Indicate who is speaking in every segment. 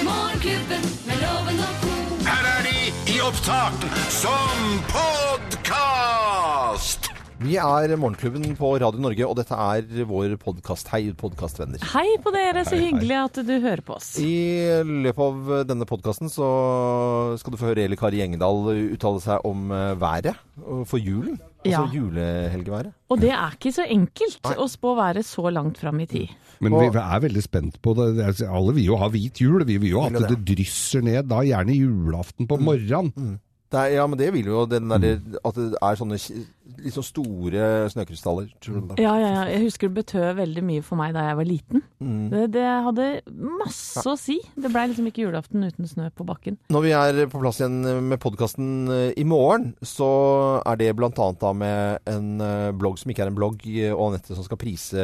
Speaker 1: Morgenklubben med loven og ko.
Speaker 2: Her er de i opptak som podkast!
Speaker 3: Vi er Morgenklubben på Radio Norge, og dette er vår podkast. Hei, podkastvenner.
Speaker 4: Hei på dere, så
Speaker 3: Hei, hei.
Speaker 4: hyggelig at du hører på oss.
Speaker 3: I løpet av denne podkasten så skal du få høre Eli Kari Gjengedal uttale seg om eh, været og for julen. Altså
Speaker 4: Ja.
Speaker 3: julehelgeværet.
Speaker 4: Og det er ikke så enkelt
Speaker 3: Nei. Mm.
Speaker 4: å spå været så langt fram i tid.
Speaker 5: Men
Speaker 3: Og-
Speaker 5: vi er veldig spent på det. Det er- Alle vil jo ha hvit jul. Vi vil jo
Speaker 3: Vil jo Mm.
Speaker 5: at det drysser ned, da gjerne julaften på morgenen.
Speaker 3: Det er, ja, men det vil jo den der, at det er sånne ki- litt sånn store snøkrystaller. tror du det?
Speaker 4: Ja, ja, ja. Jeg husker det betød veldig mye for meg da jeg var liten.
Speaker 3: Mm.
Speaker 4: Det, det hadde masse å si. Det blei liksom ikke julaften uten snø på bakken.
Speaker 3: Når vi er på plass igjen med podkasten i morgen, så er det bl.a. da med en eh, blogg som ikke er en blogg, eh, og Anette som skal prise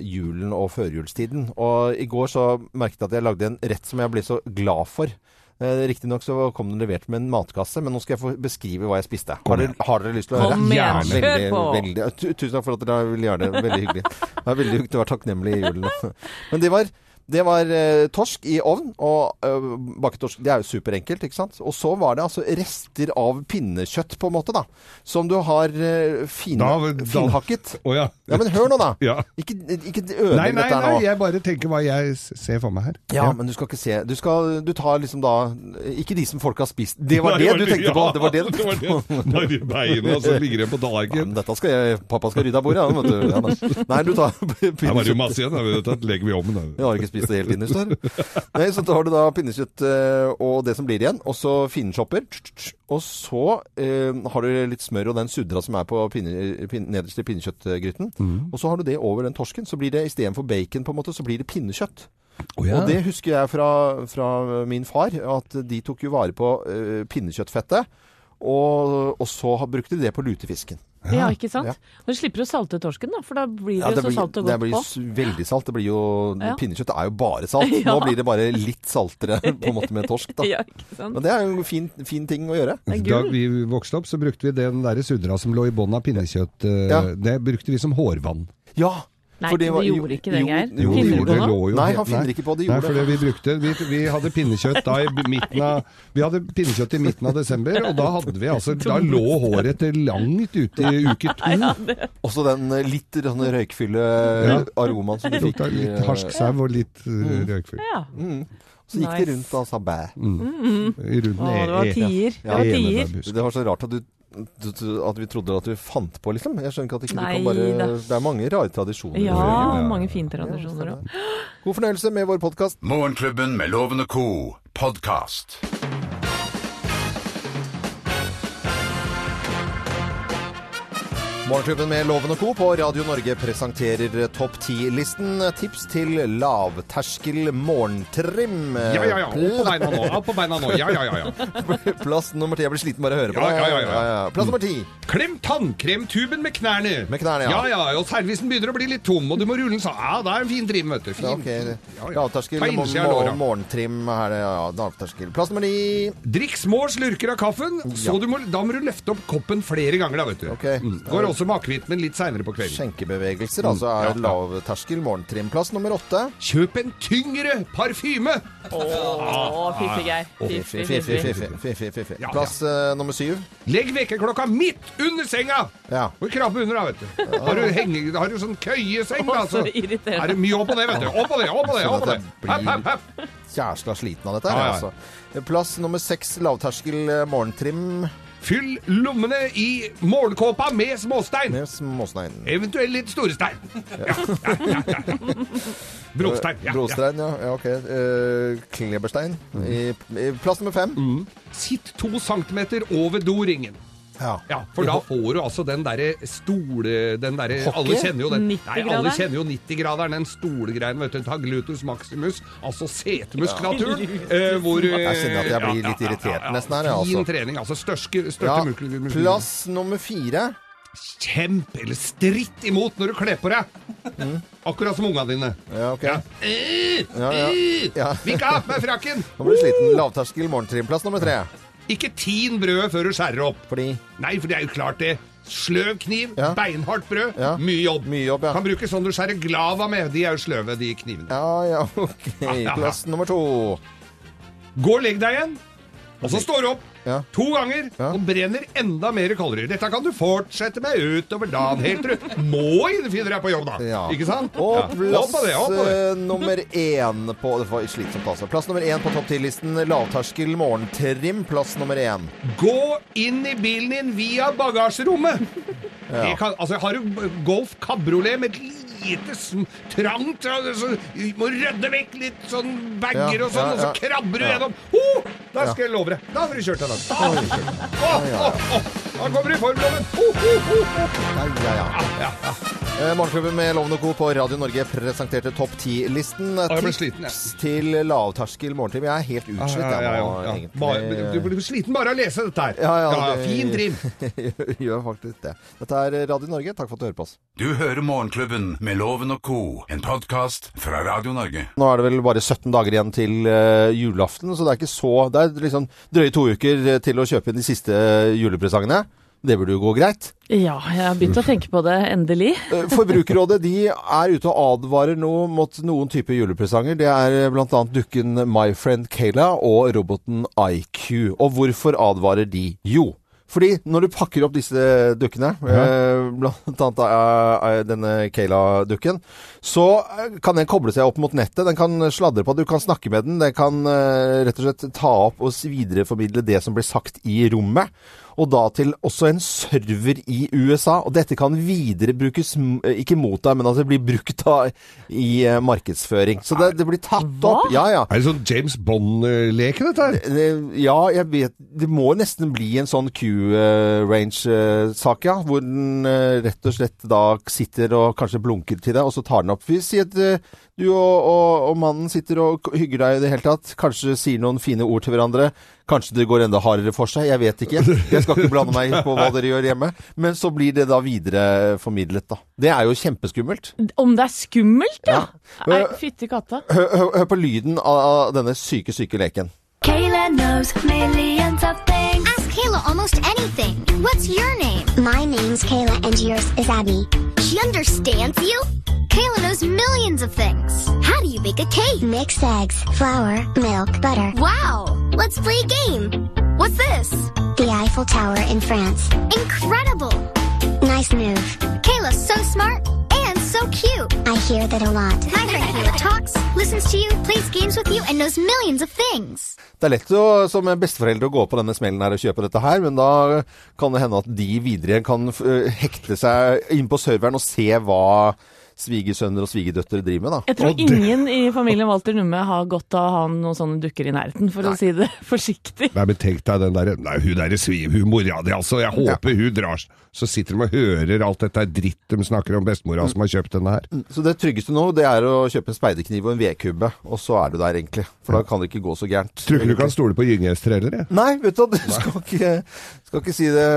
Speaker 3: julen og førjulstiden. Og i går så merket jeg at jeg lagde en rett som jeg ble så glad for. Eh, Riktignok så kom den levert med en matkasse, men nå skal jeg få beskrive hva jeg spiste. Har dere, har dere lyst til å høre?
Speaker 4: Kom igjen,
Speaker 5: Gjerne.
Speaker 4: kjør på!
Speaker 3: Veldig, veldig, tu- tusen takk for at dere ville gjøre det. Veldig hyggelig. Det var veldig hyggelig å være takknemlig i julen. Men det var, det var eh, torsk i ovn, og eh, bakket torsk. Det er jo superenkelt, ikke sant? Og så var det altså rester av pinnekjøtt, på en måte, da. Som du har eh, fin,
Speaker 5: Da- da-
Speaker 3: finhakket.
Speaker 5: Å ja.
Speaker 3: Ja, men hør nå, da.
Speaker 5: Ja.
Speaker 3: Ikke, ikke
Speaker 5: Nei,
Speaker 3: ødelegg
Speaker 5: nei,
Speaker 3: dette her nå.
Speaker 5: nei, jeg bare tenker hva jeg s- ser for meg her.
Speaker 3: Ja, men du skal ikke se Du, skal, du tar liksom da Ikke de som folk har spist. Det var
Speaker 5: Nei,
Speaker 3: det du tenkte på!
Speaker 5: ja,
Speaker 3: Det var det du
Speaker 5: var
Speaker 3: tenkte på.
Speaker 5: det. Da er de beina som ligger igjen på
Speaker 3: Ja, men
Speaker 5: dagen.
Speaker 3: dette skal jeg, pappa skal rydde av bordet, han, vet du. Ja, da. nei, du tar
Speaker 5: Her var det jo
Speaker 3: pinnekjøtt.
Speaker 5: masse igjen. Da vet du, at legger vi om den.
Speaker 3: Jeg har ikke spist det helt innerst her. Nei, så tar du da pinnekjøtt eh, og det som blir igjen, og så finchopper. Og så eh, har du litt smør og den suddra som er på pinne, pin, nederst i pinnekjøttgryten.
Speaker 5: Mm.
Speaker 3: Og så har du det over den torsken. Så blir det istedenfor bacon, på en måte, så blir det pinnekjøtt.
Speaker 5: Å ja.
Speaker 3: Og det husker jeg fra, fra min far, at de tok jo vare på eh, pinnekjøttfettet. Og, og så har- brukte de det på lutefisken.
Speaker 4: Ja, ikke
Speaker 3: Ja.
Speaker 4: sant? Og du slipper å salte torsken, da, for da blir
Speaker 3: Ja,
Speaker 4: det jo så salt og
Speaker 3: det
Speaker 4: godt
Speaker 3: blir
Speaker 4: på.
Speaker 3: s- veldig salt. Det blir jo,
Speaker 4: Ja.
Speaker 3: Pinnekjøtt er jo bare salt.
Speaker 4: Ja.
Speaker 3: Nå blir det bare litt saltere på en måte med torsk. Da.
Speaker 4: Ja, ikke sant?
Speaker 3: Men det er jo en fin, fin ting å gjøre.
Speaker 4: Det er
Speaker 5: Da
Speaker 4: gull.
Speaker 5: vi vokste opp, så brukte vi den der sudra som lå i bånn av pinnekjøtt. eh,
Speaker 3: Ja.
Speaker 5: Det brukte vi som hårvann.
Speaker 3: Ja!
Speaker 4: Nei,
Speaker 3: for
Speaker 4: det
Speaker 3: var-
Speaker 4: gjorde ikke det,
Speaker 3: jo-
Speaker 4: Geir.
Speaker 3: jo, det
Speaker 4: Finner du
Speaker 3: gjorde
Speaker 4: på
Speaker 3: det.
Speaker 4: noe?
Speaker 3: Nei, han finner ikke på det,
Speaker 5: Nei,
Speaker 3: gjorde
Speaker 5: for det
Speaker 3: det.
Speaker 5: vi brukte vi, vi hadde pinnekjøtt da i b- midten av Vi hadde pinnekjøtt i midten av desember, og da hadde vi altså Da lå håret til langt ute i uke to.
Speaker 3: Også den eh, litt sånn røykfylle aromaen som du
Speaker 5: Tok
Speaker 3: fikk.
Speaker 5: da
Speaker 3: i,
Speaker 5: litt
Speaker 3: eh,
Speaker 5: harsk sau og litt
Speaker 4: Mm.
Speaker 5: eh, røykfyll.
Speaker 4: Ja.
Speaker 3: Mm. Så gikk de rundt da og sa bæ.
Speaker 5: Rundt
Speaker 4: Å, det var tier. Det var tier.
Speaker 3: Det var så rart at du du- du- at vi trodde at du fant på, liksom. Jeg skjønner ikke at ikke du kan
Speaker 4: Nei
Speaker 3: bare
Speaker 4: da.
Speaker 3: Det er mange rare tradisjoner.
Speaker 4: Ja,
Speaker 5: Ja.
Speaker 4: mange fine tradisjoner òg.
Speaker 3: God fornøyelse med vår podkast.
Speaker 2: Morgenklubben med Loven og co. podkast.
Speaker 3: Morgenklubben med Loven og Co. på Radio Norge presenterer Topp 10-listen. Tips til lavterskel morgentrim.
Speaker 5: Ja, ja, ja. Opp på beina nå. Opp på beina nå. Ja, ja, ja. ja.
Speaker 3: Plass nummer ti. Jeg blir sliten bare av å høre på
Speaker 5: Ja,
Speaker 3: det.
Speaker 5: ja, Mm. ja, ja.
Speaker 3: Plass nummer ti.
Speaker 5: Klem tannkremtuben med knærne.
Speaker 3: Med knærne, ja.
Speaker 5: ja. ja, Og servisen begynner å bli litt tom, og du må rulle den sånn. Ja, det er en fin trim, vet du. Fin.
Speaker 3: Ja, ok.
Speaker 5: Ja, ja.
Speaker 3: Lavterskel
Speaker 5: Ta
Speaker 3: må-
Speaker 5: innsida av
Speaker 3: må-
Speaker 5: låra.
Speaker 3: morgentrim. Her, er det, ja, lavterskel. Plass nummer ni.
Speaker 5: Drikk små slurker av kaffen, så du må, da må du løfte opp koppen flere ganger, da, vet du.
Speaker 3: Ok.
Speaker 5: Mm. Går også med akevitt, men litt seinere på kvelden.
Speaker 3: Skjenkebevegelser, altså
Speaker 5: Mm.
Speaker 3: er lavterskel morgentrim. Plass nummer åtte.
Speaker 5: Kjøp en tyngre parfyme!
Speaker 4: Å, fiffi, Geir. Fiffi,
Speaker 3: Fiffi,
Speaker 4: fiffi.
Speaker 3: fiffi, fiffi, fiffi.
Speaker 5: Ja,
Speaker 3: Plass eh, nummer syv.
Speaker 5: Legg vekkerklokka midt under senga!
Speaker 3: Ja.
Speaker 5: Og krabbe under, da, vet du. Har du, henge, har du sånn køyeseng, da,
Speaker 4: Å, så irriterende.
Speaker 5: er det mye opp på det, vet du. Opp på det, opp
Speaker 3: Sånn
Speaker 5: på det! opp på det. Hepp, hepp, hepp.
Speaker 3: Kjæresten er sliten av dette. her,
Speaker 5: Ja, ja.
Speaker 3: Altså. Plass nummer seks. Lavterskel eh, morgentrim.
Speaker 5: Fyll lommene i morgenkåpa med småstein!
Speaker 3: Med småsnein.
Speaker 5: Eventuelt litt store stein. Ja, ja, ja, ja. Brostein. Ja, ja.
Speaker 3: Brostein, ja. ja ok. Eh, kleberstein. I, I plass nummer fem.
Speaker 5: Sitt to centimeter over doringen.
Speaker 3: Ja.
Speaker 5: Ja, for da får du altså den derre stole... Den derre Alle kjenner jo den.
Speaker 4: 90
Speaker 5: Nei, alle
Speaker 4: graderen.
Speaker 5: kjenner jo 90-graderen, den stolegreien, vet du. Ta glutus maximus, altså setemuskulatur, eh, hvor eh,
Speaker 3: Jeg kjenner at jeg blir litt
Speaker 5: ja, ja, ja,
Speaker 3: irritert
Speaker 5: ja, ja.
Speaker 3: nesten her, jeg, altså.
Speaker 5: Fin trening, altså. Største, største
Speaker 3: Ja,
Speaker 5: muskel-
Speaker 3: Plass nummer fire.
Speaker 5: Kjemp eller stritt imot når du kler på deg. Akkurat som unga dine.
Speaker 3: Ja, ok.
Speaker 5: Ja. Øh,
Speaker 3: ja.
Speaker 5: øh,
Speaker 3: Ja.
Speaker 5: Vil ikke ha på meg frakken!
Speaker 3: Nå blir du sliten. Lavterskel morgentrim. Plass nummer tre.
Speaker 5: Ikke tin brødet før du skjærer opp.
Speaker 3: Fordi
Speaker 5: Nei, for det er jo klart det. Sløv kniv,
Speaker 3: Ja.
Speaker 5: beinhardt brød,
Speaker 3: Ja.
Speaker 5: mye jobb.
Speaker 3: Mye jobb, ja.
Speaker 5: Kan bruke sånn du skjærer glava med. De er jo sløve, de knivene.
Speaker 3: Ja, ja, ok.
Speaker 5: ja.
Speaker 3: Plass nummer to.
Speaker 5: Gå og legg deg igjen! Og så står du opp
Speaker 3: Ja.
Speaker 5: to ganger
Speaker 3: Ja.
Speaker 5: og brenner enda mer kalorier. Dette kan du fortsette med utover dagen helt til du må finne deg på jobb, da.
Speaker 3: Ja.
Speaker 5: Ikke sant?
Speaker 3: Og
Speaker 5: Ja.
Speaker 3: plass
Speaker 5: Opp med det, opp med det.
Speaker 3: eh, nummer én på Det var slitsomt, altså. Plass nummer én på topp ti-listen. Lavterskel morgentrim. Plass nummer én.
Speaker 5: Gå inn i bilen din via bagasjerommet! Det kan, altså, har du Golf kabriolet med et lite sm- trangt altså, Du må rydde vekk litt sånn bager
Speaker 3: Ja,
Speaker 5: og sånn,
Speaker 3: ja,
Speaker 5: og så
Speaker 3: ja.
Speaker 5: krabber du
Speaker 3: Ja.
Speaker 5: gjennom. Oh, da skal jeg love deg! Da får du kjørt deg, da.
Speaker 3: Oi.
Speaker 5: Da, da kommer du i formloven! Oh, oh, oh, oh.
Speaker 3: Ja, ja, ja.
Speaker 5: Ja, ja.
Speaker 3: Eh, Morgenklubben med Loven og Co. på Radio Norge presenterte Topp 10-listen.
Speaker 5: jeg ble
Speaker 3: Tips
Speaker 5: sliten, jeg.
Speaker 3: til lavterskel morgentrim. Jeg er helt utslitt,
Speaker 5: Ja, ja,
Speaker 3: jeg
Speaker 5: ja,
Speaker 3: nå,
Speaker 5: ja. Bare-
Speaker 3: egentlig.
Speaker 5: Du blir sliten bare av å lese dette her.
Speaker 3: Ja, ja, det-
Speaker 5: Fin trim.
Speaker 3: Gjør faktisk det. Dette er Radio Norge. Takk for at du hører på oss.
Speaker 2: Du hører Morgenklubben med Loven og Co., en podkast fra Radio Norge.
Speaker 3: Nå er det vel bare 17 dager igjen til eh, julaften, så det er ikke så Det er liksom drøye to uker eh, til å kjøpe inn de siste eh, julepresangene. Det burde jo gå greit.
Speaker 4: Ja, jeg har begynt å tenke på det, endelig.
Speaker 3: Eh, Forbrukerrådet de er ute og advarer nå mot noen typer julepresanger. Det er bl.a. dukken My Friend Kayla og roboten IQ. Og hvorfor advarer de? Jo. Fordi når du pakker opp disse dukkene, eh, blant annet eh, eh, denne Kayla-dukken, så eh, kan den koble seg opp mot nettet. Den kan sladre på, du kan snakke med den. Den kan eh, rett og slett ta opp og s- videreformidle det som blir sagt i rommet. Og da til også en server i USA. Og dette kan videre brukes, m- eh, ikke mot deg, men at det blir brukt da i eh, markedsføring. Så det, det blir tatt opp. Ja, ja.
Speaker 5: Er det sånn James Bond-leke, dette her?
Speaker 3: Det- Ja, jeg vet Det må nesten bli en sånn Q-range-sak, ja. Hvor den eh, rett og slett da sitter og kanskje blunker til deg, og så tar den opp. Vi sier at eh, du og, og, og mannen sitter og k- hygger deg i det hele tatt. Kanskje sier noen fine ord til hverandre. Kanskje det går enda hardere for seg. Jeg vet ikke. Jeg skal ikke blande meg på hva dere gjør hjemme. Men så blir det da videreformidlet, da. Det er jo kjempeskummelt.
Speaker 4: Om det er skummelt, ja!
Speaker 3: Ja.
Speaker 4: Nei, fytti katta.
Speaker 3: Hør, hør, hør på lyden av av denne syke, syke leken.
Speaker 6: Kayla knows millions of things.
Speaker 7: Ask Kayla almost anything. What's your name?
Speaker 6: My name's Kayla and yours is Abby.
Speaker 7: She understands you. Kayla knows millions of things. How do you make a cake?
Speaker 6: Mix eggs, flour, milk, butter.
Speaker 7: Wow! Let's play a game. What's this?
Speaker 6: The Eiffel Tower in France.
Speaker 7: Incredible!
Speaker 6: Nice move.
Speaker 7: Kayla's so smart and so cute.
Speaker 6: I hear that a lot.
Speaker 7: My friend Kayla talks, listens to you, plays games with you, and knows millions of things.
Speaker 3: Det er lett å, som besteforeldre å gå på denne smellen her og kjøpe dette her, men da kan det hende at de videre kan eh, hekte seg inn på serveren og se hva svigersønner og svigerdøtter driver med, da.
Speaker 4: Jeg tror
Speaker 5: Og det-
Speaker 4: ingen i familien Walter Numme har godt av å ha noen sånne dukker i nærheten, for å si det forsiktig.
Speaker 5: Nei, men tenk deg den derre Nei, hun derre sviv, hun mora di, altså. Jeg håper hun drar. Så sitter de og hører alt dette dritt de snakker om bestemora som har kjøpt denne her.
Speaker 3: Så det tryggeste nå, det er å kjøpe en speiderkniv og en vedkubbe, og så er du der, egentlig. For da kan det ikke gå så gærent.
Speaker 5: Tror ikke du kan stole på gyngehester heller, jeg.
Speaker 3: Nei, vet du hva, du skal ikke, skal ikke si det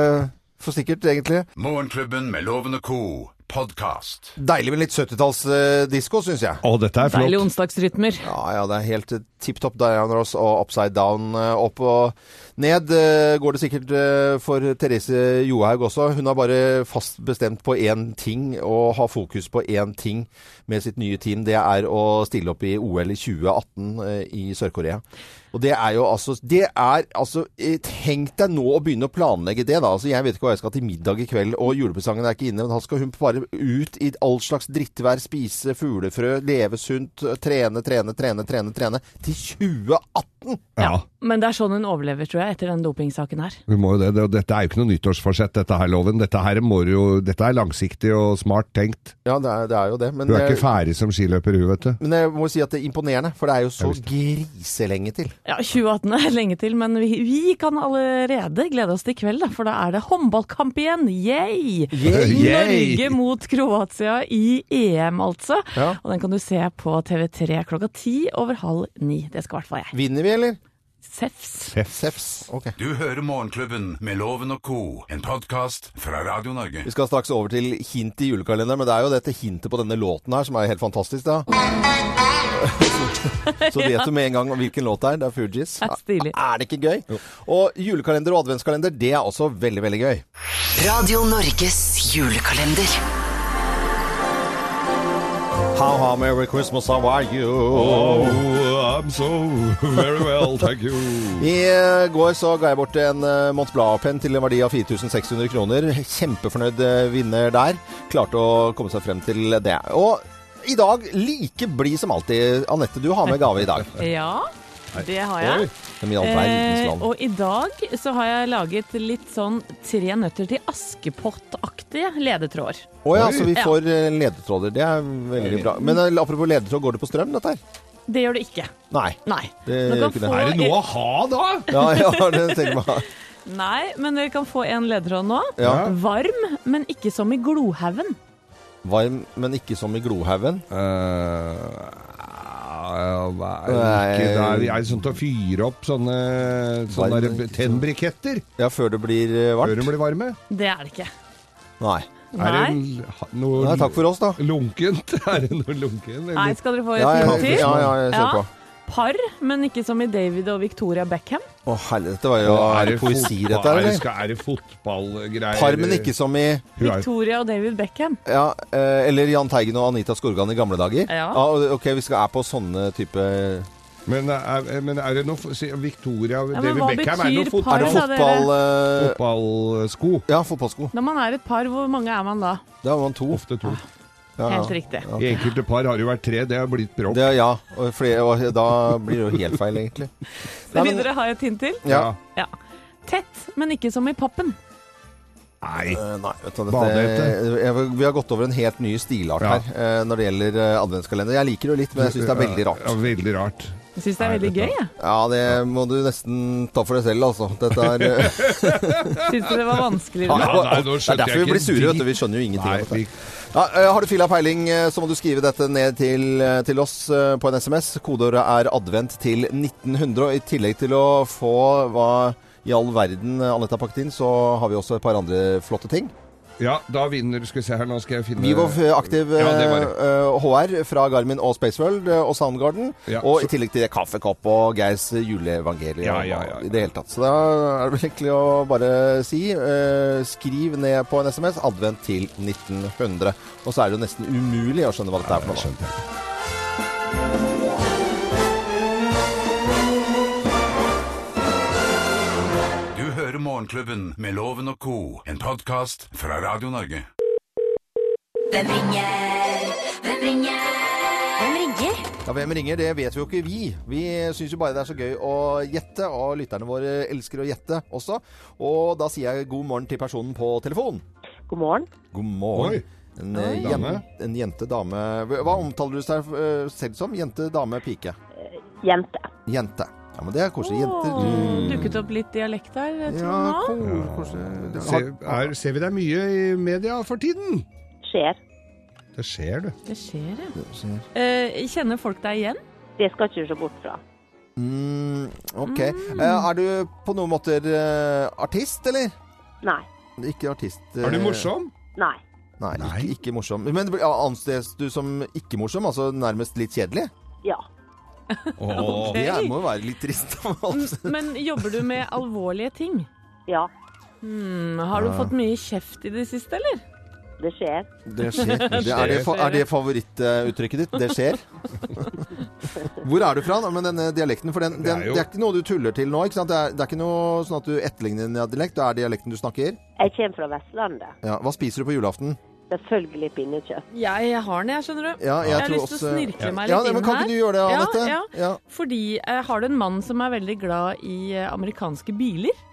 Speaker 3: for sikkert, egentlig.
Speaker 2: Morgenklubben med Loven og Co., podkast.
Speaker 3: Deilig med litt 70-tallsdisko, syns jeg.
Speaker 5: Å, dette er
Speaker 4: Deilige
Speaker 5: flott.
Speaker 4: onsdagsrytmer.
Speaker 3: Ja, ja, det er helt tipp topp Diana Ross og Upside Down. eh, Opp og ned eh, går det sikkert eh, for Therese Johaug også. Hun har bare fast bestemt på én ting, og har fokus på én ting med sitt nye team. Det er å stille opp i OL i 2018 eh, i Sør-Korea. Og det er jo altså Det er altså eh, Tenk deg nå å begynne å planlegge det, da. Altså, jeg vet ikke hva jeg skal til middag i kveld, og julepresangen er ikke inne. Men da skal hun bare ut i all slags drittvær, spise fuglefrø, leve sunt, trene, trene, trene, trene, trene. Til 2018!
Speaker 5: Ja.
Speaker 4: Men det er sånn hun overlever, tror jeg, etter den dopingsaken her.
Speaker 5: Vi må jo det. det- Dette er jo ikke noe nyttårsforsett, dette her, loven. Dette her må du jo Dette er langsiktig og smart tenkt.
Speaker 3: Ja, det er, det er jo det. Men,
Speaker 5: Hun er
Speaker 3: jeg-
Speaker 5: ikke ferdig som skiløper, hun, vet du.
Speaker 3: men jeg må si at det er imponerende, for det er jo så griselenge til.
Speaker 4: Ja, 2018 er lenge til, men vi, vi kan allerede glede oss til i kveld, da, for da er det håndballkamp igjen. Yay!
Speaker 5: Yay!
Speaker 4: Norge mot Kroatia i EM, altså.
Speaker 3: Ja.
Speaker 4: Og den kan du se på TV3 klokka ti over halv ni. Det skal i hvert fall jeg.
Speaker 3: Vinner vi, eller?
Speaker 4: Sefs.
Speaker 3: Sefs. Ok.
Speaker 2: Du hører Morgenklubben med Loven og Co., en podkast fra Radio Norge.
Speaker 3: Vi skal straks over til hint i julekalenderen, men det er jo dette hintet på denne låten her som er helt fantastisk, da. Så vet du med en gang hvilken låt det er. Det er Fugees.
Speaker 4: Det er stilig.
Speaker 3: Er det ikke gøy? Og julekalender og adventskalender, det er også veldig, veldig gøy.
Speaker 8: Radio Norges julekalender.
Speaker 3: How, how, merry Christmas, how are you?
Speaker 5: Oh, I'm so very well, thank you.
Speaker 3: I eh, går så ga jeg bort en eh, Mont Blanc-penn til en verdi av 4600 kroner. Kjempefornøyd eh, vinner der. Klarte å komme seg frem til det. Og i dag like blid som alltid. Anette, du har med gave i dag.
Speaker 4: Ja, det har jeg.
Speaker 3: Som i all verdens land.
Speaker 4: Eh, og i dag så har jeg laget litt sånn Tre nøtter til Askepott-aktige ledetråder.
Speaker 3: Å ja, så vi
Speaker 4: Ja.
Speaker 3: får eh, ledetråder. Det er veldig bra. Men eh, apropos ledetråd, går det på strøm, dette her?
Speaker 4: Det gjør det ikke.
Speaker 3: Nei.
Speaker 4: Nei.
Speaker 3: Det
Speaker 4: Dere
Speaker 3: gjør ikke det.
Speaker 4: få
Speaker 5: Er det noe å ha da?
Speaker 3: Ja, ja, det tenker jeg meg.
Speaker 4: Nei, men dere kan få en ledetråd nå.
Speaker 3: Ja.
Speaker 4: Varm, men ikke som i Glohaugen.
Speaker 3: Varm, men ikke som i Glohaugen.
Speaker 5: Er Eh, det sånn til å fyre opp sånne, sånne
Speaker 3: Varme,
Speaker 5: der
Speaker 3: ikke sånn.
Speaker 5: tennbriketter
Speaker 3: Ja, før det blir eh,
Speaker 5: før
Speaker 3: varmt?
Speaker 5: de blir varme?
Speaker 4: Det er det ikke.
Speaker 3: Nei.
Speaker 4: Nei.
Speaker 5: Er det l- ha- noe
Speaker 3: Nei. Takk for oss, da.
Speaker 5: lunkent? Er det noe lunkent?
Speaker 4: Nei,
Speaker 5: Eller?
Speaker 4: skal dere få et
Speaker 3: Ja, ja,
Speaker 4: hint
Speaker 3: ja,
Speaker 4: til?
Speaker 3: ja, jeg ser på.
Speaker 4: Par, men ikke som i David og Victoria Beckham.
Speaker 3: Å, herre, dette var jo Er det poesi,
Speaker 5: fotball-
Speaker 3: dette her,
Speaker 5: er det-
Speaker 3: eller?
Speaker 5: skal- Er det fotballgreier?
Speaker 3: Par, men ikke som i
Speaker 5: Hun er-
Speaker 4: Victoria og David Beckham.
Speaker 3: Ja, eh, eller Jahn Teigen og Anita Skorgan i gamle dager.
Speaker 4: Ja.
Speaker 3: ok, vi skal er på sånne type Er
Speaker 5: Men er, men er det noe f- si- Victoria
Speaker 4: men
Speaker 5: David
Speaker 4: hva
Speaker 5: Beckham er
Speaker 4: betyr
Speaker 5: noe fot
Speaker 4: par,
Speaker 3: det
Speaker 4: da? dere?
Speaker 3: fotball... eh,
Speaker 5: fotballsko.
Speaker 3: ja, fotballsko.
Speaker 4: Når man er et par, hvor mange er man da?
Speaker 3: Da var man to.
Speaker 5: Ofte to.
Speaker 3: Ja,
Speaker 4: Helt
Speaker 3: ja.
Speaker 4: riktig.
Speaker 5: I enkelte par har det jo vært tre. Det har blitt bråk.
Speaker 3: Ah, Det, er- ja, og, flere, og da blir det jo helt feil, egentlig. Nei,
Speaker 4: Vil
Speaker 3: men-
Speaker 4: dere ha et hint til?
Speaker 3: Ja.
Speaker 4: Ja. Tett, men ikke som i pappen.
Speaker 5: Nei.
Speaker 3: Eh, Nei, vet du, dette,
Speaker 5: Badehette.
Speaker 3: jeg, vi har gått over en helt ny stilart
Speaker 5: Ja.
Speaker 3: her eh, når det gjelder eh, adventskalender. Jeg liker det jo litt, men jeg syns det er veldig rart.
Speaker 5: Ja, veldig rart.
Speaker 4: Jeg syns det er
Speaker 5: Nei,
Speaker 4: veldig
Speaker 5: dette-
Speaker 4: gøy. jeg.
Speaker 3: Ja, det må du nesten ta for deg selv, altså. Dette er eh,
Speaker 4: Syns dere det var vanskelig?
Speaker 5: Ja, nei, nå
Speaker 3: Det
Speaker 5: skjønte
Speaker 3: er derfor
Speaker 5: jeg
Speaker 3: vi blir
Speaker 5: ikke
Speaker 3: sure, vet du.
Speaker 5: dritt.
Speaker 3: Vi skjønner jo ingenting.
Speaker 5: Nei,
Speaker 3: av dette.
Speaker 5: vi-
Speaker 3: Ja, eh, har du fila peiling, eh, så må du skrive dette ned til, eh, til oss eh, på en SMS. Kodeordet er 'advent' til 1900. Og I tillegg til å få hva i all verden eh, Anette har pakket inn, så har vi også et par andre flotte ting.
Speaker 5: Ja, da vinner Skal vi se her, nå skal jeg finne
Speaker 3: Vivo eh, Aktiv eh,
Speaker 5: Ja, det var det.
Speaker 3: eh, HR fra Garmin og Spaceworld eh, og Soundgarden.
Speaker 5: Ja,
Speaker 3: og
Speaker 5: så-
Speaker 3: i tillegg til det kaffekopp og Geirs juleevangelium
Speaker 5: Ja, ja, ja, ja.
Speaker 3: i det hele tatt. Så da er det vel egentlig å bare si eh, skriv ned på en SMS 'Advent til 1900'. Og så er det jo nesten umulig å skjønne hva dette er for noe.
Speaker 5: Skjønte jeg.
Speaker 2: Du hører Morgenklubben med Loven og Co., en podkast fra Radio Norge.
Speaker 1: Hvem ringer? Hvem ringer?
Speaker 7: Hvem ringer?
Speaker 3: Ja, Hvem ringer, det vet vi jo ikke vi. Vi syns jo bare det er så gøy å gjette, og lytterne våre elsker å gjette også. Og da sier jeg god morgen til personen på telefon.
Speaker 9: God morgen.
Speaker 3: God morgen.
Speaker 5: Oi.
Speaker 3: En, eh, jen-
Speaker 5: Dame.
Speaker 3: en jente, dame Hva omtaler du deg eh, selv som? Jente, dame, pike?
Speaker 9: Eh, Jente.
Speaker 3: Jente. Ja, men det er koselig. Jenter.
Speaker 4: Åh, Dukket opp litt dialekt der, tror jeg
Speaker 3: Ja,
Speaker 4: nå.
Speaker 3: ko- koselig. Det-
Speaker 5: Se, er, ser vi deg mye i media for tiden?
Speaker 9: Skjer.
Speaker 5: Det skjer, du.
Speaker 4: Det skjer, ja.
Speaker 3: Har-
Speaker 4: Eh, kjenner folk deg igjen?
Speaker 9: Det skal ikke du se bort fra.
Speaker 3: Mm, OK.
Speaker 9: Mm.
Speaker 3: Eh, Er du på noen måter eh, artist, eller?
Speaker 9: Nei.
Speaker 3: Ikke artist. eh,
Speaker 5: Er du morsom?
Speaker 9: Nei.
Speaker 3: Nei,
Speaker 5: Nei.
Speaker 3: Ikke, ikke morsom. Men ja, anses du som ikke morsom? Altså nærmest litt kjedelig?
Speaker 9: Ja.
Speaker 5: Åh.
Speaker 3: Det er- må jo være litt trist.
Speaker 4: Men jobber du med alvorlige ting?
Speaker 9: Ja.
Speaker 4: Hmm, har du fått mye kjeft i det siste, eller?
Speaker 9: Det skjer.
Speaker 3: Det skjer. Det er det, fa- er det favorittuttrykket ditt? Det skjer? Hvor er du fra da, med denne dialekten? For den, den,
Speaker 5: Det
Speaker 3: det,
Speaker 5: er
Speaker 3: er
Speaker 5: jo-
Speaker 3: ikke noe du tuller til nå? ikke sant? Det er, det er ikke noe sånn at du etterligner en dialekt? Det er dialekten du snakker?
Speaker 9: Jeg kommer fra Vestlandet.
Speaker 3: Ja. Hva spiser du på julaften?
Speaker 9: Selvfølgelig pinnekjøtt.
Speaker 4: Jeg, jeg har den, jeg, skjønner du.
Speaker 3: Ja,
Speaker 4: jeg har lyst til å snirkle meg litt
Speaker 3: ja, nei, men
Speaker 4: inn
Speaker 3: Kan
Speaker 4: her.
Speaker 3: ikke du gjøre det,
Speaker 4: Ja,
Speaker 3: Anette?
Speaker 4: ja.
Speaker 3: ja.
Speaker 4: Fordi jeg har du en mann som er veldig glad i eh, amerikanske biler?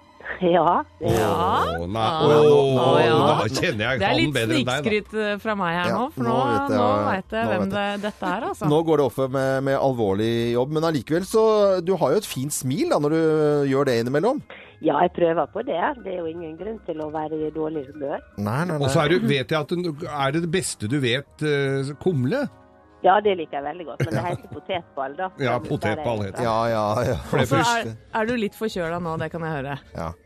Speaker 9: Ja. det-
Speaker 4: Ja.
Speaker 5: Åh, nei.
Speaker 4: Ah.
Speaker 5: Åh,
Speaker 4: Ah, ja.
Speaker 5: Da kjenner jeg
Speaker 4: Det er
Speaker 5: han
Speaker 4: litt
Speaker 5: bedre enn deg. da.
Speaker 4: snikskryt eh, fra meg her
Speaker 3: Ja,
Speaker 4: nå, for
Speaker 3: nå
Speaker 4: nå,
Speaker 3: vet jeg-
Speaker 4: nå veit jeg
Speaker 3: nå
Speaker 4: hvem
Speaker 3: vet
Speaker 4: det, dette er, altså.
Speaker 3: Nå går det ofte med, med alvorlig jobb, men allikevel så Du har jo et fint smil da når du gjør det innimellom.
Speaker 9: ja, jeg prøver på det. Det er jo ingen grunn til å være i dårlig humør.
Speaker 3: Nei, nei,
Speaker 5: Og så er, du, vet jeg at du, er det det beste du vet eh, kumle?
Speaker 9: Ja, det liker jeg veldig godt, men det heter potetball, da.
Speaker 5: Ja,
Speaker 9: Der
Speaker 5: potetball
Speaker 9: jeg er
Speaker 5: heter
Speaker 3: Ja, ja, ja.
Speaker 5: For det
Speaker 4: Så er,
Speaker 5: første.
Speaker 4: Altså, er du litt forkjøla nå, det kan jeg høre.
Speaker 3: ja.
Speaker 9: fra.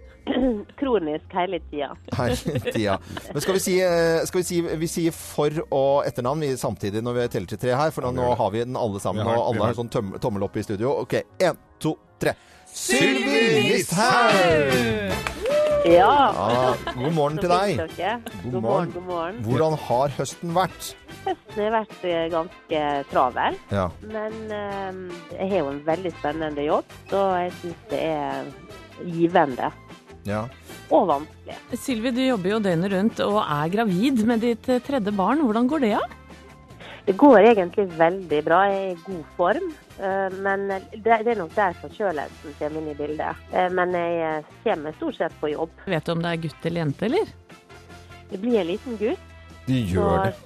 Speaker 9: Kronisk hele tida.
Speaker 3: Hele tida. Men skal vi si, eh, skal vi si, vi sier for- og etternavn vi samtidig når vi teller til tre her? For nå, nå har vi den alle sammen,
Speaker 5: Vi har-
Speaker 3: og alle
Speaker 5: vi har-
Speaker 3: har sånn tøm, tommel opp i studio. OK, én, to, tre.
Speaker 5: Sylvi
Speaker 3: Listhaug!
Speaker 9: Ja.
Speaker 3: Ja, god morgen til
Speaker 9: Så fint
Speaker 3: deg.
Speaker 9: dere.
Speaker 3: God
Speaker 9: God
Speaker 3: morgen.
Speaker 9: morgen, god morgen.
Speaker 3: Hvordan har høsten vært?
Speaker 9: høsten har vært eh, ganske travel.
Speaker 3: Ja.
Speaker 9: Men eh, jeg har jo en veldig spennende jobb, så jeg syns det er givende.
Speaker 3: ja.
Speaker 9: Og vanskelig.
Speaker 4: Sylvi, du jobber jo døgnet rundt og er gravid med ditt eh, tredje barn. Hvordan går det av?
Speaker 9: Det går egentlig veldig bra. Jeg er i god form. eh, Men det, det er nok der forkjølelsen kommer inn i bildet. Eh, Men jeg kommer stort sett på jobb.
Speaker 4: Vet du om det er gutt eller jente, eller?
Speaker 9: Det blir en liten gutt.
Speaker 3: De gjør det.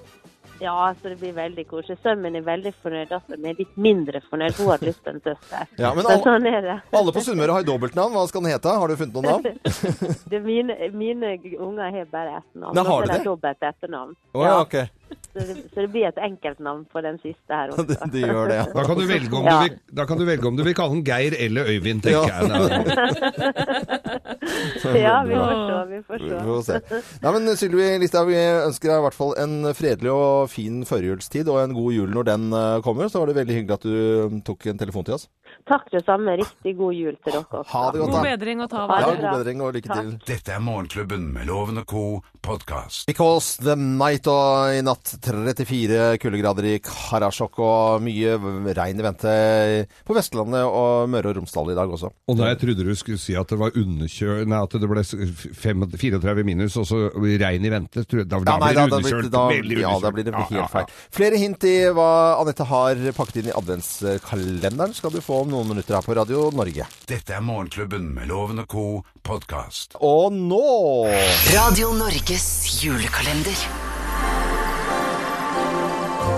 Speaker 9: Ja, så det blir veldig koselig. Sønnen min er veldig fornøyd. Datteren min er litt mindre fornøyd. Hun hadde lyst på en søster.
Speaker 3: Ja, men
Speaker 9: Så
Speaker 3: alle-
Speaker 9: sånn er det.
Speaker 3: Alle på Sunnmøre har dobbeltnavn. Hva skal den hete? Har du funnet noen navn?
Speaker 9: det mine, mine unger har bare ett navn.
Speaker 3: Nei, har
Speaker 9: Og så er
Speaker 3: de det?
Speaker 9: det? Dobbelt etternavn.
Speaker 3: Å ja, ok.
Speaker 9: Så, det, så det blir et enkeltnavn på den siste her
Speaker 3: De,
Speaker 9: også.
Speaker 3: de gjør det, ja.
Speaker 5: Da kan, du velge om
Speaker 9: Ja.
Speaker 5: du vil, da kan du velge om du vil kalle den Geir eller Øyvind, tenker
Speaker 3: Ja.
Speaker 5: jeg. Det er-
Speaker 9: Ja, vi får se. Vi får
Speaker 3: Vi
Speaker 9: se.
Speaker 3: får se. Nei, men Sylvi Listhaug, vi ønsker deg i hvert fall en fredelig og fin førjulstid og en god jul når den eh, kommer. Så var det veldig hyggelig at du mm, tok en telefon til oss.
Speaker 9: Takk det samme. Riktig god jul til dere også.
Speaker 3: Ha det godt, da.
Speaker 4: God bedring og ta
Speaker 3: Ja,
Speaker 4: vare.
Speaker 9: det
Speaker 3: god
Speaker 9: bra.
Speaker 3: bedring og lykke
Speaker 9: Takk.
Speaker 3: til.
Speaker 2: Dette er Morgenklubben med Loven og Co. podkast.
Speaker 3: Because the night og i natt 34 kuldegrader i Karasjok og mye regn i vente på Vestlandet og Møre og Romsdal i dag også.
Speaker 5: Og da jeg trodde du skulle si at det var underkjø... Nei, at det ble s- fem- 34 minus og så regn i vente. tror jeg- Da, da
Speaker 3: Ja, nei,
Speaker 5: blir det
Speaker 3: da- da
Speaker 5: underkjølt.
Speaker 3: da-
Speaker 5: veldig
Speaker 3: Ja, da
Speaker 5: underkjølt.
Speaker 3: blir det
Speaker 5: Ja,
Speaker 3: helt
Speaker 5: ja, ja.
Speaker 3: feil. Flere hint i hva Anette har pakket inn i adventskalenderen skal du få om noen minutter her på Radio Norge.
Speaker 2: Dette er Morgenklubben med Loven og Co. podkast.
Speaker 3: Og nå
Speaker 8: Radio Norges julekalender.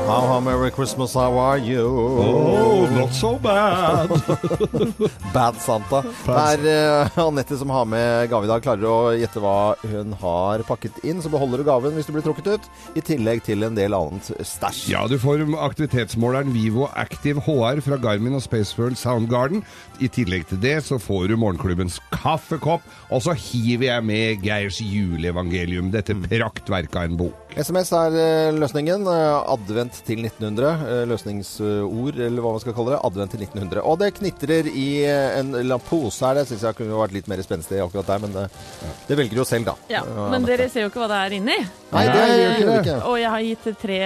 Speaker 3: How, how merry Christmas, how are you?
Speaker 5: Oh, not so bad!
Speaker 3: Bad Santa. Det er eh, Anette som har med gave i dag. Klarer du å gjette hva hun har pakket inn, så beholder du gaven hvis du blir trukket ut. I tillegg til en del annet stæsj.
Speaker 5: Ja, du får aktivitetsmåleren Vivo Active HR fra Garmin og Spaceworld Soundgarden. I tillegg til det så får du morgenklubbens kaffekopp, og så hiver jeg med Geirs juleevangelium, dette
Speaker 3: Mm.
Speaker 5: praktverket av en bok.
Speaker 3: SMS er eh, løsningen. Eh, Advent til 1900. eh, Løsningsord, eller hva man skal kalle det. Advent til 1900. Og det knitrer i eh, en la pose her. Det syns jeg kunne vært litt mer spenstig akkurat der, men det, det velger du jo selv, da.
Speaker 4: Ja, men dere ser jo ikke hva det er inni.
Speaker 3: Nei, det gjør
Speaker 5: det.
Speaker 3: ikke det.
Speaker 4: Og jeg har gitt tre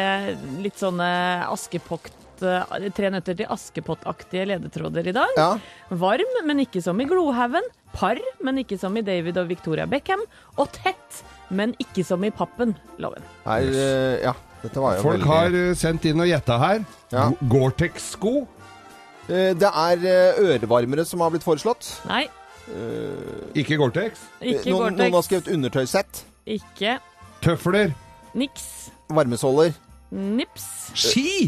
Speaker 4: litt sånne askepott eh, Tre nøtter til askepottaktige ledetråder i dag.
Speaker 3: Ja.
Speaker 4: Varm, men ikke som i Glohaugen. Par, men ikke som i David og Victoria Beckham. Og tett, men ikke som i Pappen. Loven.
Speaker 3: Her, eh, ja. Dette var jo
Speaker 5: Folk
Speaker 3: veldig-
Speaker 5: har eh, sendt inn og gjetta her.
Speaker 3: Ja.
Speaker 5: Gore-Tex-sko.
Speaker 3: Eh, Det er eh, ørevarmere som har blitt foreslått.
Speaker 4: Nei,
Speaker 5: Ikke Gore-Tex.
Speaker 4: ikke
Speaker 3: noen, noen har
Speaker 4: Gore-Tex.
Speaker 3: skrevet undertøysett.
Speaker 4: Ikke
Speaker 5: Tøfler.
Speaker 4: niks.
Speaker 3: Varmesåler.
Speaker 4: Nips.
Speaker 5: Ski!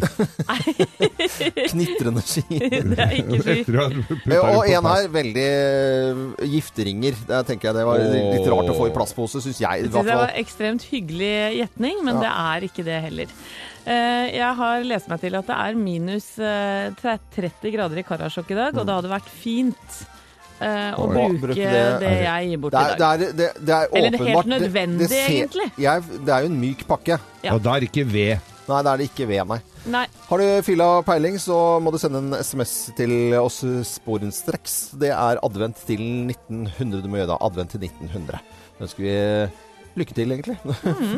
Speaker 3: Knitrende ski.
Speaker 4: Det er ikke ski.
Speaker 5: Etter å ha puttet
Speaker 3: Eh,
Speaker 5: det på
Speaker 3: Og en
Speaker 5: plass.
Speaker 3: her, veldig eh, gifteringer. Der tenker jeg det var
Speaker 5: Åh.
Speaker 3: litt rart å få i plastpose, syns jeg. I
Speaker 4: Jeg synes
Speaker 3: hvert
Speaker 4: det
Speaker 3: fall.
Speaker 4: var ekstremt hyggelig gjetning, men det er ikke det heller. Eh, Jeg har lest meg til at det er minus eh, tre- 30 grader i Karasjok i dag,
Speaker 3: Mm.
Speaker 4: og det hadde vært fint eh, å
Speaker 3: Å,
Speaker 4: bruke
Speaker 3: bruke
Speaker 4: det
Speaker 3: det-
Speaker 4: jeg gir bort
Speaker 3: Det
Speaker 4: i
Speaker 3: er,
Speaker 4: dag.
Speaker 3: det, er, det, det er
Speaker 4: Eller det er helt
Speaker 3: åpenbart
Speaker 4: nødvendig, egentlig.
Speaker 3: Jeg, det er jo en myk pakke.
Speaker 5: Ja, da er det ikke ved.
Speaker 3: Nei, det er det ikke ved, nei.
Speaker 4: Nei,
Speaker 3: Har du fylla peiling, så må du sende en SMS til oss sporenstreks. Det er advent til 1900 du må gjøre da. Advent til 1900. Da ønsker vi eh, lykke til, egentlig.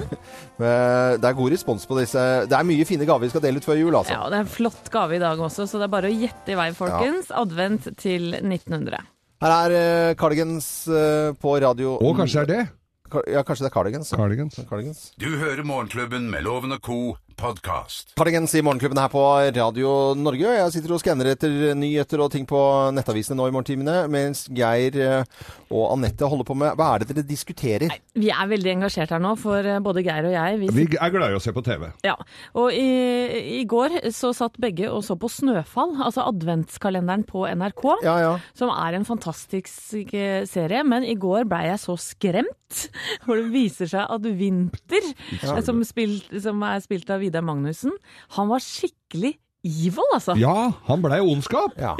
Speaker 3: Men det er god respons på disse. Det er mye fine gaver vi skal dele ut før jul, altså.
Speaker 4: ja, Det er en flott gave i dag også, så det er bare å gjette i vei, folkens. Advent til 1900.
Speaker 3: Her er eh, Cardigans eh, på radio
Speaker 5: Og kanskje det er det.
Speaker 3: Ka- Ja, kanskje det er Cardigans. ja.
Speaker 5: Cardigans.
Speaker 3: Cardigans.
Speaker 2: Du hører Morgenklubben med Loven og Co. podkast.
Speaker 3: Cardigans i Morgenklubben her på Radio Norge. og Jeg sitter og skanner etter nyheter og ting på nettavisene nå i morgentimene, mens Geir eh, og Anette holder på med Hva er det dere diskuterer?
Speaker 4: Vi er veldig engasjert her nå, for eh, både Geir og jeg. Vi
Speaker 5: Vi er glad i å se på TV.
Speaker 4: Ja, og i, i går så satt begge og så på Snøfall, altså adventskalenderen på NRK,
Speaker 3: Ja, ja.
Speaker 4: som er en fantastisk eh, serie, men i går ble jeg så skremt, for det viser seg at Winter, eh, som, spilt, som er spilt av Vidar Magnussen, han var skikkelig evil, altså.
Speaker 5: Ja, han blei ondskap.
Speaker 3: ja.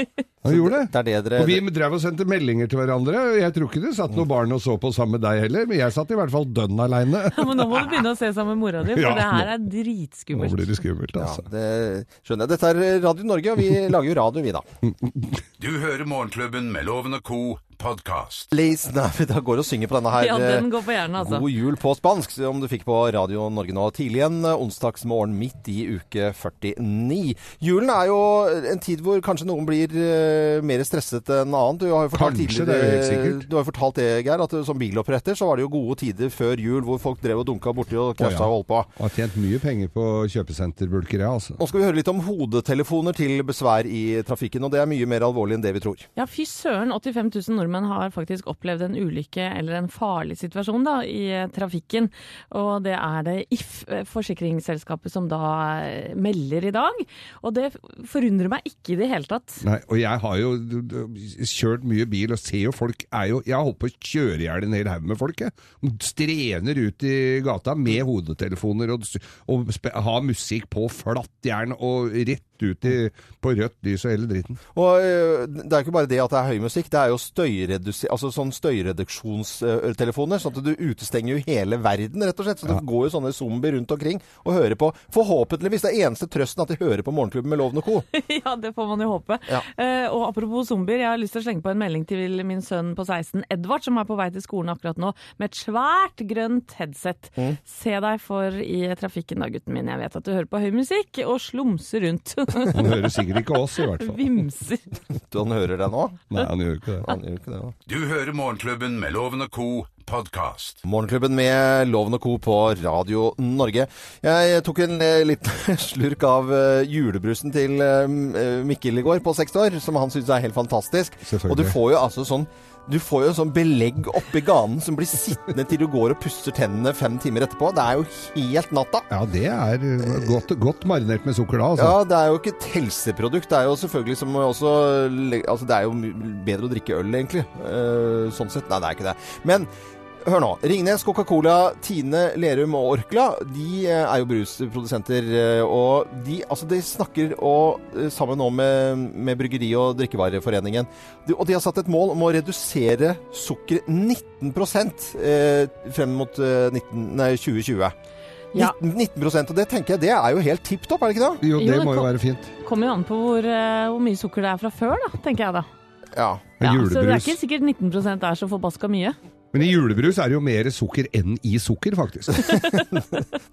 Speaker 5: Han gjorde det.
Speaker 3: Det er det dere
Speaker 5: Og vi drev og sendte meldinger til hverandre. og Jeg tror ikke det satt noen barn og så på sammen med deg heller, men jeg satt i hvert fall dønn aleine.
Speaker 4: Men nå må du begynne å se sammen med mora di, for
Speaker 5: Ja,
Speaker 4: det her er
Speaker 5: nå- Nå
Speaker 4: dritskummelt.
Speaker 5: blir det skummelt,
Speaker 3: ja,
Speaker 5: altså.
Speaker 3: det skjønner jeg. Dette er Radio Norge, og vi lager jo radio, vi, da.
Speaker 2: Du hører Morgenklubben med Loven og Co. podkast.
Speaker 3: Leis, nei, da går og synger på denne her.
Speaker 4: Ja, den går på hjernen, altså.
Speaker 3: God jul på spansk, som du fikk på Radio Norge nå tidlig en eh, onsdagsmorgen midt i uke 49. Julen er jo en tid hvor kanskje noen blir eh, mer stresset enn annet. Du har jo fortalt
Speaker 5: Kanskje,
Speaker 3: tidligere-
Speaker 5: det er jo helt sikkert.
Speaker 3: Du har jo fortalt det, Geir, at eh, som biloppretter så var det jo gode tider før jul hvor folk drev og dunka borti og krasja
Speaker 5: Å, ja.
Speaker 3: og holdt på.
Speaker 5: Har tjent mye penger på kjøpesenterbulker, jeg, altså.
Speaker 3: Nå skal vi høre litt om hodetelefoner til besvær i trafikken, og det er mye mer alvorlig enn det vi tror.
Speaker 4: Ja, fy søren. 85 000 nordmenn har faktisk opplevd en ulykke eller en farlig situasjon da, i eh, trafikken. Og det er det If, eh, forsikringsselskapet, som da eh, melder i dag. Og det forundrer meg ikke i det hele tatt.
Speaker 5: Nei, og jeg har jo d- d- kjørt mye bil og ser jo folk er jo, Jeg har holdt på å kjøre i hjel en hel haug med folk. Jeg. De strener ut i gata med hodetelefoner og, s- og spe, har musikk på flatt jern og rett ut i, på rødt lys og hele dritten.
Speaker 3: Og øh, det er jo ikke bare det at det er høy musikk, det er jo støyredusi- altså sånn støyreduksjonstelefoner. Sånn at du utestenger jo hele verden, rett og slett. Så det går jo sånne zombier rundt omkring og hører på. Forhåpentligvis det er eneste trøsten at de hører på Morgenklubben med Loven og Co.
Speaker 4: Ja, det får man jo håpe.
Speaker 3: Ja.
Speaker 4: Eh, og apropos zombier, jeg har lyst til å slenge på en melding til min sønn på 16, Edvard, som er på vei til skolen akkurat nå, med et svært grønt headset. Se deg for i trafikken da, gutten min. Jeg vet at du hører på høy musikk og slumser rundt.
Speaker 5: Han hører sikkert ikke oss, i hvert fall.
Speaker 4: Vimser.
Speaker 3: Du, han hører det nå?
Speaker 5: Nei, han gjør ikke det.
Speaker 3: Han gjør ikke det nå.
Speaker 2: Du hører Morgenklubben med Loven og co. podkast.
Speaker 3: Morgenklubben med Loven og Co. på Radio Norge. Jeg tok en eh, liten slurk av eh, julebrusen til eh, M- eh, Mikkel i går på seks år, som han syns er helt fantastisk.
Speaker 5: Selvfølgelig.
Speaker 3: Og du får jo altså sånn du får jo sånn belegg oppi ganen som blir sittende til du går og pusser tennene fem timer etterpå. Det er jo helt natta.
Speaker 5: Ja, det er eh, godt, godt marinert med sukker da, altså.
Speaker 3: Ja, det er jo ikke et helseprodukt. Det er jo selvfølgelig som også le- Altså, det er jo my- bedre å drikke øl, egentlig. Eh, sånn sett. Nei, det er ikke det. Men hør nå. Ringnes, Coca-Cola, Tine, Lerum og Orkla, de eh, er jo brusprodusenter. eh, Og de, altså, de snakker og, eh, sammen nå med, med Bryggeri- og drikkevareforeningen. De, og de har satt et mål om å redusere sukkeret 19 eh, frem mot eh, 19, nei, 2020.
Speaker 4: Ja.
Speaker 3: 19, 19 Og det tenker jeg, det er jo helt tipp topp, er det ikke det?
Speaker 5: Jo,
Speaker 4: Jo,
Speaker 5: det
Speaker 4: det
Speaker 5: må jo
Speaker 4: kom-
Speaker 5: være fint.
Speaker 4: Kommer jo an på hvor, eh, hvor mye sukker det er fra før, da, tenker jeg da.
Speaker 3: Ja.
Speaker 4: Ja, så det er
Speaker 5: Julebrus.
Speaker 4: ikke sikkert 19 er så forbaska mye.
Speaker 5: Men i julebrus er det jo mer sukker enn i sukker, faktisk.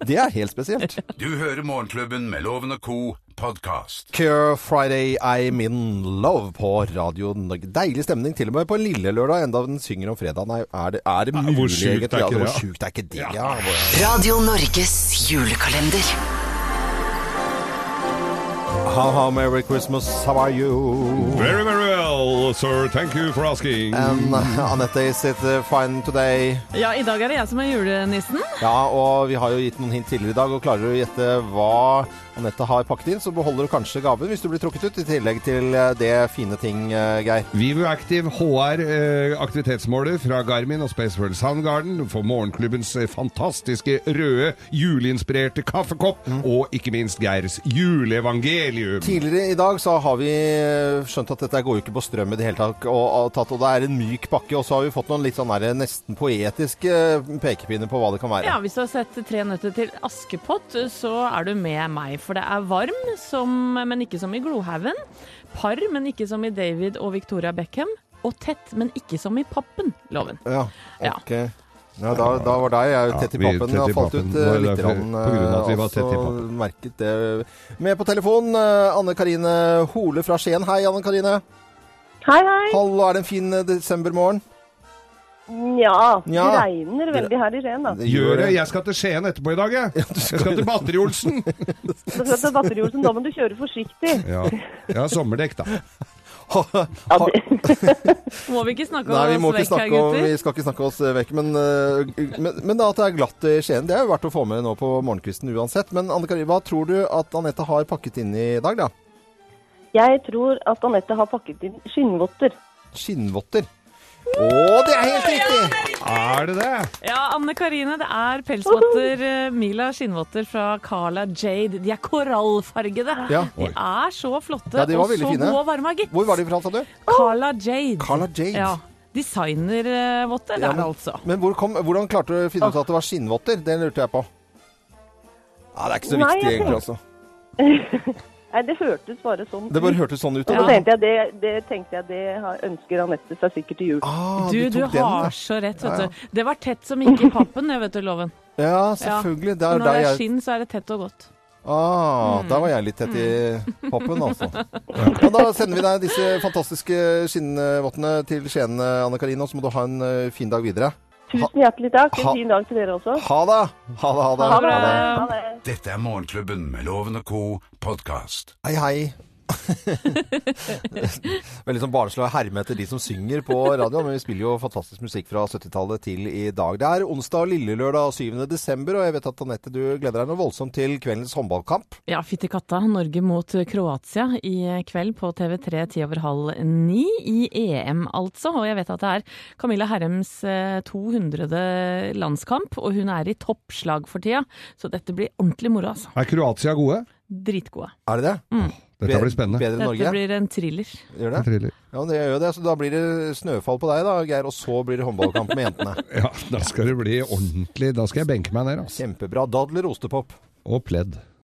Speaker 3: Det er helt spesielt.
Speaker 2: Du hører Morgenklubben med Loven og co. podkast.
Speaker 3: Cure Friday I'm in love på Radio Norge. Deilig stemning til og med på lille lørdag, enda den synger om fredagen. Nei, Er det, er det
Speaker 5: Nei,
Speaker 3: mulig?
Speaker 5: hvor sjukt er
Speaker 3: egentlig?
Speaker 5: ikke
Speaker 3: Ja,
Speaker 5: det,
Speaker 3: Hvor
Speaker 5: ja.
Speaker 3: sjukt er ikke det? Ja. hvor-
Speaker 8: Radio Norges julekalender.
Speaker 3: How, how, merry Christmas, how are you?
Speaker 5: Very, very well, sir. Thank you for asking.
Speaker 3: And uh, Anette, is it uh, fine today?
Speaker 4: Ja, i dag er det jeg som er julenissen.
Speaker 3: Ja, og vi har jo gitt noen hint tidligere i dag, og klarer du å gjette hva Anette har pakket inn, så beholder du kanskje gaven hvis du blir trukket ut, i tillegg til uh, det fine ting, uh, Geir.
Speaker 5: Vivo Active HR eh, aktivitetsmåler fra Garmin og Spaceworld Soundgarden for morgenklubbens eh, fantastiske røde juleinspirerte kaffekopp og ikke minst Geirs juleevangelium.
Speaker 3: Tidligere i dag så har vi eh, skjønt at dette går jo ikke på strøm i det hele tatt, og, og, tatt, og det er en myk pakke. Og så har vi fått noen litt sånn der, nesten poetiske eh, pekepinner på hva det kan være.
Speaker 4: Ja, Hvis du har sett Tre nøtter til Askepott, så er du med meg. For det er varm, som, men ikke som i Glohaugen. Par, men ikke som i David og Victoria Beckham. Og tett, men ikke som i Pappen, loven.
Speaker 3: Ja,
Speaker 4: Ja.
Speaker 3: ok. Ja, da, da var deg jeg er jo
Speaker 5: Ja,
Speaker 3: tett i
Speaker 5: vi er
Speaker 3: pappen.
Speaker 5: tett i
Speaker 3: Jeg falt
Speaker 5: pappen.
Speaker 3: ut
Speaker 5: Det
Speaker 3: eh,
Speaker 5: var
Speaker 3: litt
Speaker 5: derfor-
Speaker 3: rann,
Speaker 5: på grunn av at vi
Speaker 3: eh,
Speaker 5: var tett i
Speaker 3: også
Speaker 5: pappen.
Speaker 3: merket det. Med på telefon, eh, Anne Karine Hole fra Skien. Hei, Anne Karine.
Speaker 9: Hei, hei.
Speaker 3: Hallo, er det en fin eh, desembermorgen?
Speaker 9: Ja, det
Speaker 3: Ja.
Speaker 9: regner veldig her i Skien, da.
Speaker 5: Gjør det. Jeg skal til Skien etterpå i dag, jeg. Jeg skal til Batteri-Olsen.
Speaker 9: Så skal til Batterjolsen, da må du kjøre forsiktig.
Speaker 5: Ja. Jeg har sommerdekk, da.
Speaker 9: Ja, det,
Speaker 4: Må vi ikke snakke
Speaker 3: Nei, vi må ikke
Speaker 4: oss vekk her,
Speaker 3: snakke om,
Speaker 4: gutter?
Speaker 3: vi skal ikke snakke oss eh, vekk, men, eh, men, men at det er glatt i Skien, det er jo verdt å få med nå på morgenkvisten uansett. Men Anne Kari, hva tror du at Anette har pakket inn i dag, da?
Speaker 9: jeg tror at Anette har pakket inn skinnvotter.
Speaker 3: Skinnvotter. Å, det er helt riktig!
Speaker 5: Er det det?
Speaker 4: Ja, Anne Karine, det er pelsvotter, eh, Mila skinnvotter fra Carla Jade. De er korallfargede.
Speaker 3: Ja.
Speaker 4: De er så flotte
Speaker 3: Ja, de var
Speaker 4: og
Speaker 3: veldig
Speaker 4: så
Speaker 3: fine.
Speaker 4: gode og varme, gitt.
Speaker 3: Hvor var de fra, sa du?
Speaker 4: Carla Jade.
Speaker 3: Carla Jade.
Speaker 4: Ja. Designervotter, det
Speaker 3: Ja,
Speaker 4: er det altså.
Speaker 3: Men hvor kom, hvordan klarte du å finne ut at det var skinnvotter? Det lurte jeg på. Ja, det er ikke så
Speaker 9: Nei,
Speaker 3: viktig
Speaker 9: jeg
Speaker 3: egentlig, altså.
Speaker 9: Eh, Nei, det hørtes bare sånn
Speaker 3: Det bare hørtes sånn ut.
Speaker 9: Og så
Speaker 3: da.
Speaker 9: tenkte jeg det, det, tenkte jeg, det har- ønsker Anette seg sikkert til jul.
Speaker 3: Ah,
Speaker 4: Du,
Speaker 3: du,
Speaker 4: du
Speaker 3: tok den,
Speaker 4: har
Speaker 3: ja.
Speaker 4: så rett,
Speaker 3: Ja, ja.
Speaker 4: vet du. Det var tett som ikke i pappen, det, vet du, Loven.
Speaker 3: Ja,
Speaker 4: Ja.
Speaker 3: selvfølgelig. Det
Speaker 4: For
Speaker 3: er
Speaker 4: Når det
Speaker 3: der
Speaker 4: er
Speaker 3: jeg
Speaker 4: skinn, så er det tett og godt.
Speaker 3: Ah, der var jeg litt tett i pappen, altså. Men da sender vi deg disse fantastiske skinnvottene til Skien, Anne Karine, og så må du ha en eh, fin dag videre.
Speaker 9: Tusen hjertelig takk.
Speaker 3: Ha-
Speaker 9: En fin dag til dere også.
Speaker 3: Ha det! Ha det, ha det.
Speaker 9: Ha det.
Speaker 4: det.
Speaker 9: Ha det.
Speaker 2: Dette er Morgenklubben med Loven og Co. podkast.
Speaker 3: Hei, hei. Veldig sånn barnslig å herme etter de som synger på radioen, men vi spiller jo fantastisk musikk fra 70-tallet til i dag. Det er onsdag og lillelørdag 7. desember, og jeg vet at Anette, du gleder deg noe voldsomt til kveldens håndballkamp.
Speaker 4: Ja, fytti katta. Norge mot Kroatia i kveld på TV3 ti over halv ni i EM, altså. Og jeg vet at det er Camilla Herrems eh, 200. landskamp, og hun er i toppslag for tida. Så dette blir ordentlig moro, altså.
Speaker 5: Er Kroatia gode?
Speaker 4: Dritgode.
Speaker 3: Er det det?
Speaker 5: Dette blir spennende.
Speaker 3: Bedre enn
Speaker 4: Dette
Speaker 3: Norge?
Speaker 4: blir en thriller.
Speaker 3: Gjør det?
Speaker 5: En thriller.
Speaker 3: Ja, det gjør jo det. Så da blir det snøfall på deg da, Geir, og så blir det håndballkamp med jentene.
Speaker 5: Ja, da skal det bli ordentlig. Da skal jeg benke meg ned, altså.
Speaker 3: Kjempebra. Dadler ostepop.
Speaker 5: Og pledd.